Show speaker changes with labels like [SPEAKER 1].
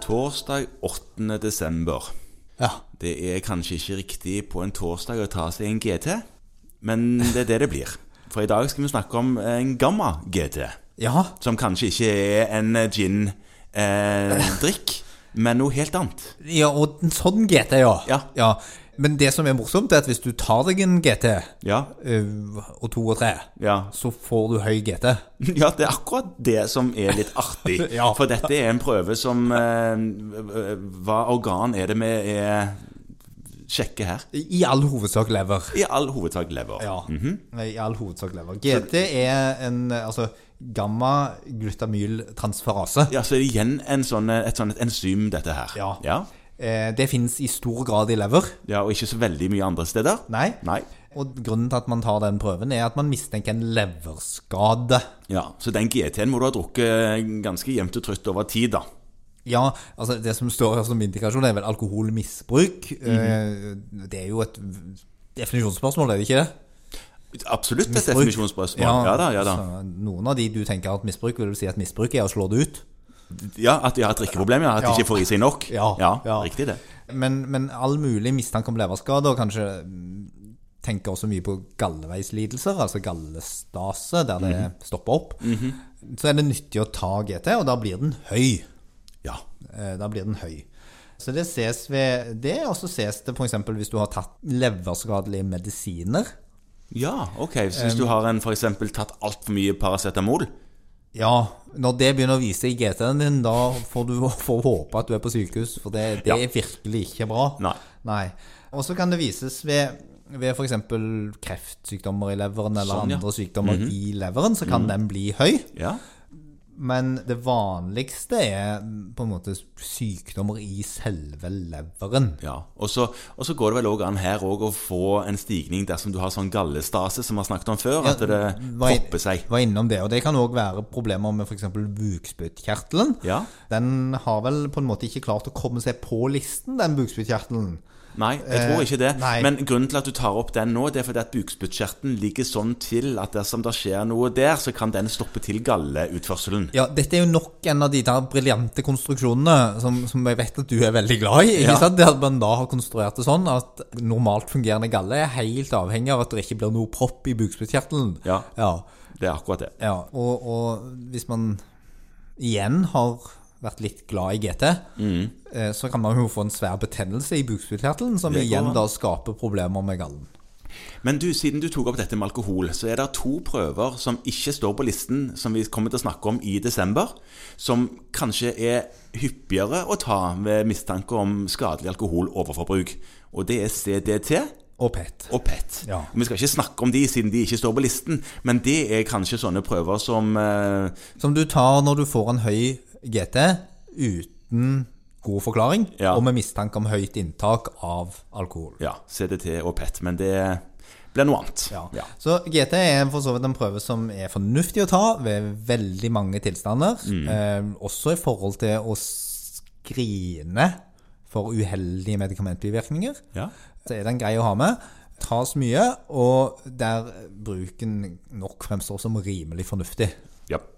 [SPEAKER 1] Torsdag 8. desember.
[SPEAKER 2] Ja.
[SPEAKER 1] Det er kanskje ikke riktig på en torsdag å ta seg en GT, men det er det det blir. For i dag skal vi snakke om en gamma GT,
[SPEAKER 2] Ja.
[SPEAKER 1] som kanskje ikke er en gin-drikk, men noe helt annet.
[SPEAKER 2] ja og en sånn GT, ja.
[SPEAKER 1] Ja.
[SPEAKER 2] Men det som er morsomt, er at hvis du tar deg en GT
[SPEAKER 1] Ja,
[SPEAKER 2] eh, og to og tre,
[SPEAKER 1] ja.
[SPEAKER 2] så får du høy GT.
[SPEAKER 1] Ja, det er akkurat det som er litt artig.
[SPEAKER 2] Ja.
[SPEAKER 1] For dette er en prøve som eh, Hva organ er det vi er sjekker her?
[SPEAKER 2] I all hovedsak lever.
[SPEAKER 1] I all hovedsak lever.
[SPEAKER 2] Ja.
[SPEAKER 1] Mhm.
[SPEAKER 2] I all hovedsak lever. GT er en eh, altså, gamma-glutamyltransferase.
[SPEAKER 1] Ja, så er det igjen en sånn, et sånn et enzym, dette her.
[SPEAKER 2] Ja.
[SPEAKER 1] ja.
[SPEAKER 2] Eh, det fins i stor grad i lever.
[SPEAKER 1] Ja, Og ikke så veldig mye andre steder.
[SPEAKER 2] Nei.
[SPEAKER 1] Nei.
[SPEAKER 2] Og grunnen til at man tar den prøven, er at man mistenker en leverskade.
[SPEAKER 1] Ja, Så den GT-en må du ha drukket eh, ganske jevnt og trutt over tid, da.
[SPEAKER 2] Ja, altså det som står her som indikasjon er vel alkoholmisbruk.
[SPEAKER 1] Mhm.
[SPEAKER 2] Eh, Det er jo et definisjonsspørsmål, er det ikke det?
[SPEAKER 1] Absolutt et
[SPEAKER 2] Misbruk.
[SPEAKER 1] definisjonsspørsmål. ja da, ja da.
[SPEAKER 2] Så noen av de du tenker at misbruk, vil du si at misbruk er å slå det ut.
[SPEAKER 1] Ja, At de har et drikkeproblem, ja. At de
[SPEAKER 2] Ja.
[SPEAKER 1] ikke får i seg nok.
[SPEAKER 2] Ja,
[SPEAKER 1] ja,
[SPEAKER 2] ja.
[SPEAKER 1] Riktig, det.
[SPEAKER 2] Men, men all mulig mistanke om leverskade, og kanskje mm, tenker også mye på galleveislidelser, altså gallestase, der det
[SPEAKER 1] Mhm.
[SPEAKER 2] stopper opp, så er det nyttig å ta GT, og da blir den høy.
[SPEAKER 1] Ja.
[SPEAKER 2] Eh, Da blir den høy. Så det ses ved det, og så ses det f.eks. hvis du har tatt leverskadelige medisiner.
[SPEAKER 1] Ja, ok. Så hvis du har en for eksempel tatt altfor mye paracetamol
[SPEAKER 2] Ja, når det begynner å vise i GT-en din, da får du får håpe at du er på sykehus, for det, det
[SPEAKER 1] Ja.
[SPEAKER 2] er virkelig ikke bra.
[SPEAKER 1] Nei.
[SPEAKER 2] Og så kan det vises ved, ved f.eks. kreftsykdommer i leveren eller
[SPEAKER 1] Sånn, ja. Mhm.
[SPEAKER 2] andre sykdommer i leveren, så kan den bli høy.
[SPEAKER 1] Ja.
[SPEAKER 2] Men det vanligste er på en måte sykdommer i selve leveren.
[SPEAKER 1] ja. Og, så, og så går det vel òg an her også å få en stigning dersom du har sånn gallestase som vi har snakket om før, at det
[SPEAKER 2] var in-
[SPEAKER 1] popper seg.
[SPEAKER 2] Var innom det, og det kan òg være problemer med f.eks. bukspyttkjertelen.
[SPEAKER 1] Ja.
[SPEAKER 2] Den har vel på en måte ikke klart å komme seg på listen, den bukspyttkjertelen.
[SPEAKER 1] Nei, jeg tror ikke det.
[SPEAKER 2] Eh, nei.
[SPEAKER 1] Men grunnen til at du tar opp den nå, det er fordi at bukspyttkjertelen ligger sånn til at dersom det skjer noe der, så kan den stoppe til galleutførselen.
[SPEAKER 2] Ja, dette er jo nok en av de der briljante konstruksjonene som, som jeg vet at du er veldig glad i. ikke
[SPEAKER 1] Ja.
[SPEAKER 2] sant? Det at man da har konstruert det sånn at normalt fungerende galle er helt avhengig av at det ikke blir noe propp i bukspyttkjertelen.
[SPEAKER 1] Ja.
[SPEAKER 2] Ja,
[SPEAKER 1] Det er akkurat det.
[SPEAKER 2] ja. Og, og hvis man igjen har vært litt glad i GT,
[SPEAKER 1] Mm.
[SPEAKER 2] eh, så kan man jo få en svær betennelse i bukspyttkjertelen, som
[SPEAKER 1] Det går
[SPEAKER 2] igjen
[SPEAKER 1] an.
[SPEAKER 2] da skaper problemer med gallen.
[SPEAKER 1] Men du, siden du tok opp dette med alkohol, så er det to prøver som ikke står på listen, som vi kommer til å snakke om i desember, som kanskje er hyppigere å ta ved mistanke om skadelig alkohol overforbruk. Og det er CDT
[SPEAKER 2] Og pett.
[SPEAKER 1] og PET.
[SPEAKER 2] Ja.
[SPEAKER 1] Og Vi skal ikke snakke om de siden de ikke står på listen, men det er kanskje sånne prøver som eh,
[SPEAKER 2] Som du tar når du får en høy GT uten god forklaring,
[SPEAKER 1] Ja.
[SPEAKER 2] og med mistanke om høyt inntak av alkohol.
[SPEAKER 1] Ja, CDT og PET. Men det blir noe annet. Ja.
[SPEAKER 2] Så GT er for så vidt en prøve som er fornuftig å ta ved veldig mange tilstander.
[SPEAKER 1] Mm.
[SPEAKER 2] Eh, også i forhold til å skrine for uheldige medikamentbivirkninger.
[SPEAKER 1] Ja.
[SPEAKER 2] Så er den grei å ha med. Tas mye, og der bruken nok fremstår som rimelig fornuftig.
[SPEAKER 1] Ja.